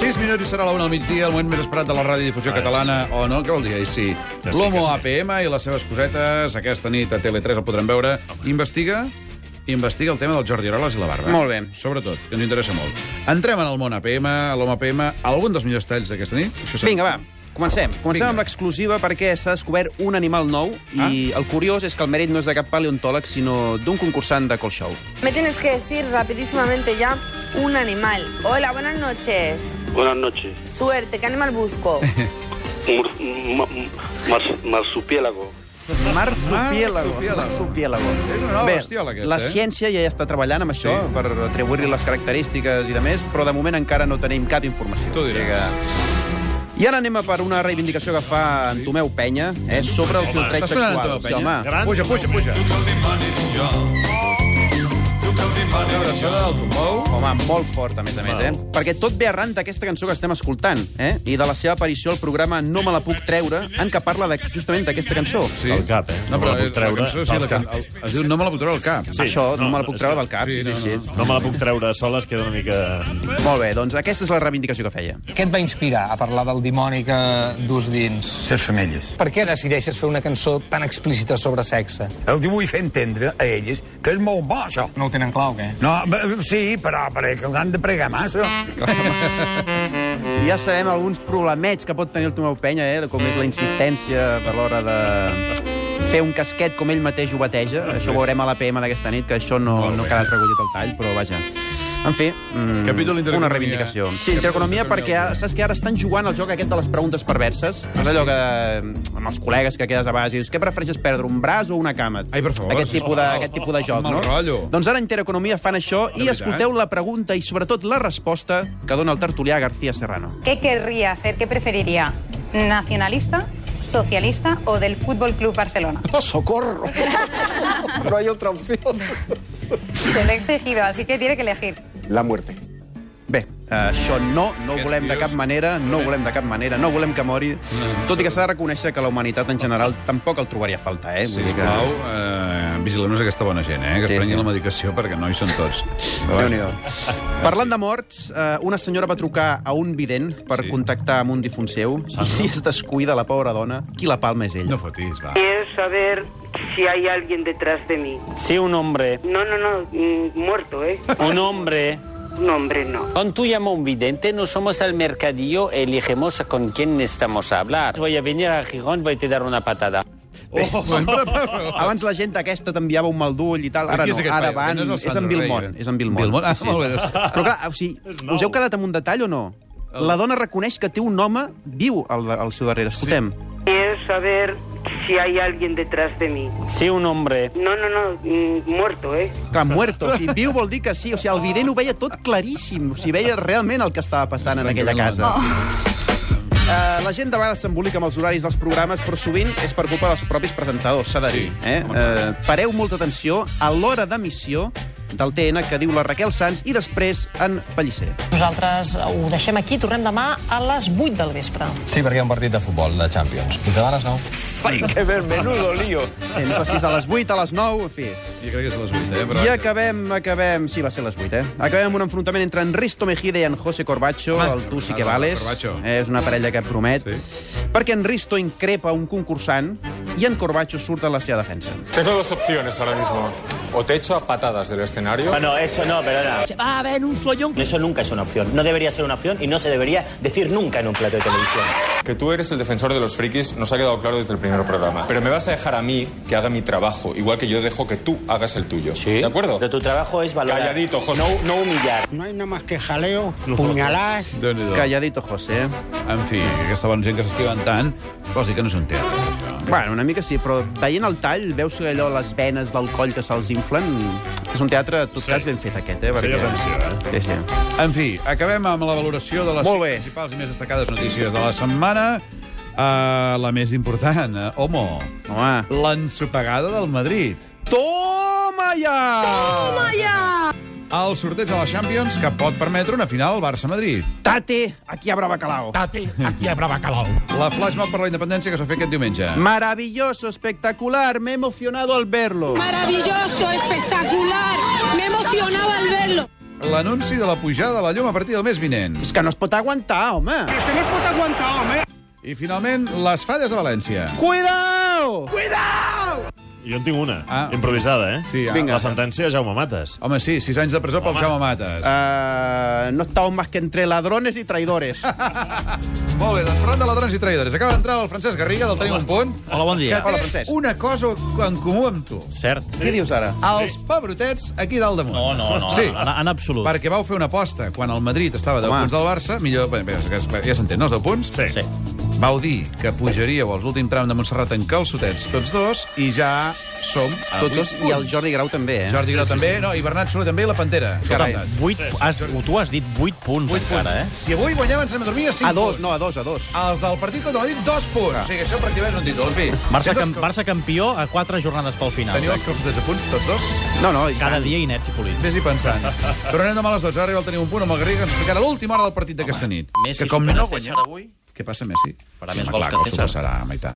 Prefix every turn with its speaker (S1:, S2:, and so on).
S1: 6 minuts i serà la 1 al migdia, el moment més esperat de la radiodifusió
S2: Ara
S1: catalana, o no, què vol dir? Ai, sí.
S2: Que sí,
S1: L'Homo
S2: que sí.
S1: APM i les seves cosetes, aquesta nit a Tele3 el podrem veure. Investiga investiga el tema del Jordi Aroles i la barba.
S3: Molt bé.
S1: Sobretot, que ens interessa molt. Entrem en el món APM, a l'Home APM, algun dels millors talls d'aquesta nit. Això serà-
S3: Vinga, va. Comencem. Comencem
S1: Vinga.
S3: amb l'exclusiva perquè s'ha descobert un animal nou i
S1: Ah.
S3: el curiós és que el mèrit no és de cap paleontòleg, sinó d'un concursant de Colshow.
S4: Me tienes que decir rapidísimamente ya un animal. Hola, buenas noches.
S5: Buenas noches.
S4: Suerte, ¿qué animal busco?
S5: Mur- ma- mars- marsupiélago.
S3: Marsupiélago.
S1: Marsupiélago.
S3: Marsupiélago.
S1: És una nova
S3: Bé,
S1: bestiola, aquesta,
S3: la
S1: eh?
S3: ciència ja està treballant amb això
S1: Sí.
S3: per atribuir-li les característiques i de més, però de moment encara no tenim cap informació.
S1: Tu diràs.
S3: O sigui que- I ara anem a per una reivindicació que fa en Tomeu Penya eh, sobre el filtreig
S1: està sonant en
S3: sexual.
S1: Tomeu Penya?
S3: home.
S2: Gran
S1: Puja, puja, puja. Abraçada del Tomou.
S3: Home, molt fort, a més a més, eh? Perquè tot ve arran d'aquesta cançó que estem escoltant, eh? I de la seva aparició al programa No me la puc treure, en què parla de, justament d'aquesta cançó.
S1: Sí.
S2: Del cap, eh?
S1: No,
S2: No me
S1: però
S2: la puc
S1: és-
S2: treure
S1: cançó, sí,
S2: del
S1: la,
S2: cap.
S1: el, es diu No me la puc treure al cap.
S2: Sí.
S3: Això no,
S2: No,
S3: me la puc
S2: és
S3: treure
S2: que-
S3: del cap,
S1: sí,
S3: sí, sí,
S1: no,
S3: sí.
S1: no.
S2: No me la puc treure sola, es queda una mica...
S3: Molt bé, doncs aquesta és la reivindicació que feia.
S6: Què et va inspirar a parlar del dimoni que dus dins?
S7: ses femelles.
S6: Per què decideixes fer una cançó tan explícita sobre sexe?
S7: Els hi vull fer entendre a elles que és molt bo, això.
S6: No ho tenen clar o què?
S7: No, b- sí, però, però que els han de pregar massa.
S3: Ja sabem alguns problemets que pot tenir el Tomeu Penya, eh? com és la insistència per l'hora de fer un casquet com ell mateix ho bateja.
S1: Ah,
S3: Això ho veurem a la PM d'aquesta nit, que això no, no ha quedat recollit al tall, però vaja. En fi, mm,
S1: Capítol d'Intereconomia.
S3: una reivindicació. Sí, intereconomia, perquè ara- saps que ara estan jugant al joc aquest de les preguntes perverses?
S1: Ah,
S3: És allò que mm, amb els col·legues que quedes a baix i dius, què prefereixes perdre, un braç o una cama?
S1: Ai, per favor,
S3: Aquest tipus de,
S1: sisplau.
S3: aquest tipus de joc,
S1: Mal
S3: no?
S1: rotllo.
S3: Doncs ara Intereconomia fan això i
S1: veritat?
S3: escolteu la pregunta i sobretot la resposta que dona el tertulià García Serrano.
S8: ¿Qué querría ser? ¿Qué preferiría? ¿Nacionalista, socialista o del Fútbol Club Barcelona?
S9: ¡Socorro! No hay otra opción.
S8: Se lo he exigido, así que tiene que elegir.
S9: La muerte.
S3: Bé, eh, això no, no ho
S1: Aquests
S3: volem de
S1: tios-
S3: cap manera, no ho volem de cap manera, no volem que mori, tot i que s'ha de reconèixer que la humanitat en general tampoc el trobaria a falta, eh? Vull dir que...
S1: Sisplau, eh, vigileu-nos aquesta bona gent, eh, que
S3: Sí,
S1: sí, prenguin
S3: sí.
S1: la medicació perquè no hi són tots.
S3: Déu-n'hi-do. Parlant de morts, eh, una senyora va trucar a un vident per
S1: Sí. Ah,
S3: contactar amb un difunt seu i si es descuida la pobra dona, qui la palma és ell.
S1: No fotis, va.
S10: Quiero saber si hay alguien detrás de mí.
S11: Si un hombre,
S10: No, no, no, mm, muerto, ¿eh?
S11: un hombre,
S10: Un hombre no.
S11: cuando tú llamas a un vidente, no somos al mercadillo, elegimos con quién necesitamos hablar. Voy a venir a Gijón, voy a te dar una patada.
S1: Oh, sempre parlo.
S3: Abans la gent aquesta t'enviava un maldull i tal, ara
S1: Qui
S3: no,
S1: és aquest
S3: ara
S1: paio?
S3: van...
S1: No és el
S3: És, en
S1: Sandro
S3: Vilmon,
S1: Reyes.
S3: és en Vilmon.
S1: Vilmon? Ah, molt bé, doncs.
S3: Però clar, o sigui,
S2: nou.
S3: us heu quedat amb un detall o no? La dona reconeix que té un home viu al, al seu darrere. Escoltem.
S10: Quiero saber si hay alguien detrás de mí.
S11: Si un hombre,
S10: No, no, no, mm, muerto, ¿eh?
S3: Clar, muerto. O sigui, viu vol dir que sí. O sigui, el vident ho veia tot claríssim. O sigui, veia realment el que estava passant en aquella casa. Uh, la gent de vegades s'embolica amb els horaris dels programes, però sovint és per culpa dels propis presentadors, s'ha de dir.
S1: Sí,
S3: eh? Uh, pareu molta atenció a l'hora d'emissió del TN que diu la Raquel Sanz i després en Pellicer.
S8: Nosaltres ho deixem aquí, tornem demà a les 8 del vespre.
S6: Sí, perquè hi ha un partit de futbol, de Champions. Fins demà a les 9.
S3: Eh, no sé si és a les 8, a les 9, en fi.
S1: Jo crec que és a les 8, eh? Però...
S3: I acabem, acabem... Sí, va ser a les 8, eh? Acabem amb un enfrontament entre en Risto Mejide i en José Corbacho,
S1: Home,
S3: el tu sí que
S1: m'agrada
S3: vales.
S1: Corbacho.
S3: Eh, És una parella que promet.
S1: Sí.
S3: Perquè en Risto increpa un concursant i en Corbacho surt a la seva defensa.
S7: Tengo dos opciones ahora mismo. O te echo a patadas del escenario...
S11: Bueno, eso Ah, no, perdona. Se va a ver un follón. Eso nunca es una opción. No debería ser una opción y no se debería decir nunca en un plato de televisión.
S7: Que tú eres el defensor de los frikis nos ha quedado claro desde el primer programa. Pero me vas a dejar a mí que haga mi trabajo, igual que yo dejo que tú hagas el tuyo. ¿De acuerdo?
S11: Pero tu trabajo es valorar.
S7: Calladito, José.
S11: No, no humillar.
S9: No hay nada más que jaleo, puñaladas.
S1: Déu-n'hi-do.
S3: Calladito, José. eh?
S1: En fi, aquesta bona gent que s'estimen tant, vols dir que no és un teatre. això?
S3: Bueno, una mica sí, però veient el tall, veus que allò, les venes del coll que se'ls inflen... És un teatre, en tot
S2: Sí.
S3: cas, ben fet aquest, eh?
S2: Sí, és sensible,
S1: eh.
S3: Sí, sí.
S1: En fi, acabem amb la valoració de les
S3: Molt
S1: cinc
S3: bé.
S1: principals i més destacades notícies de la setmana. Uh, la més important, eh? Homo.
S3: Home.
S1: L'ensopegada del Madrid.
S3: Toma ja! Toma ja!
S1: el sorteig de la Champions que pot permetre una final al Barça-Madrid.
S3: Tate, aquí habrá bacalao.
S12: Tate, aquí habrá bacalao.
S1: La flashmob per la independència que s'ha fet aquest diumenge.
S3: Maravilloso, espectacular, me he emocionado al verlo.
S13: Maravilloso, espectacular. Me emocionaba al verlo.
S1: L'anunci de la pujada de la llum a partir del mes vinent.
S3: És que no es pot aguantar, home. És que no es pot aguantar, home.
S1: I, finalment, les falles de València.
S3: Cuidao!
S12: Cuidao!
S2: Jo en tinc una, ah. improvisada, eh?
S1: Sí, ah.
S2: Vinga. La sentència, Jaume Mates.
S1: Home, sí, sis anys de presó pel Jaume Matas.
S3: Uh, no estamos más que entre ladrones y traidores.
S1: Molt bé, doncs parlant de ladrons i traïdores. Acaba d'entrar el Francesc Garriga, del Tenim un punt.
S14: Hola, bon dia.
S1: Que té
S14: Hola,
S1: Francesc. una cosa en comú amb tu.
S14: Cert.
S1: Què dius ara? Els pebrotets aquí dalt damunt.
S14: No, no, no,
S1: Sí.
S14: en, en absolut.
S1: Perquè vau fer una aposta quan el Madrid estava a 10
S14: Home.
S1: punts del Barça, millor... Bé, bé, ja s'entén, no? Els 10 punts?
S2: Sí. sí.
S1: Vau dir que pujaríeu als últim tram de Montserrat en calçotets tots dos i ja som a
S3: Tots dos,
S1: vuit punts.
S3: i el Jordi Grau també, eh?
S1: Jordi Grau
S3: Sí, sí,
S1: també,
S3: sí.
S1: no, i Bernat Soler també i la Pantera.
S14: Escolta'm,
S1: Caramba.
S14: vuit, has, tu has dit 8 punts, 8 encara, eh?
S1: Si avui guanyem, ens anem a dormir a 5
S3: A dos,
S1: punts.
S3: no, a dos, a dos.
S1: Els del partit contra l'Adit, dos punts. O sigui, això pràcticament és un títol. En fi,
S14: Barça,
S1: Aquestes
S14: cam, Barça campió a 4 jornades pel final.
S1: Teniu els calçotets a punt, tots dos?
S3: No, no, i
S14: Cada
S3: tant.
S14: dia Inet Cipollins.
S1: Vés-hi pensant. Però anem demà a les 12. Ara arriba el Tenim un punt amb el Garriga, ens explicarà l'última hora del partit d'aquesta nit.
S14: Messi
S1: que com
S14: supera
S1: no
S14: César
S1: guanyem...
S14: avui?
S1: Què passa, Messi?
S14: Farà més
S1: Home,
S14: gols
S1: clar
S14: que
S1: que ho
S14: César.
S1: superarà, home, i tant.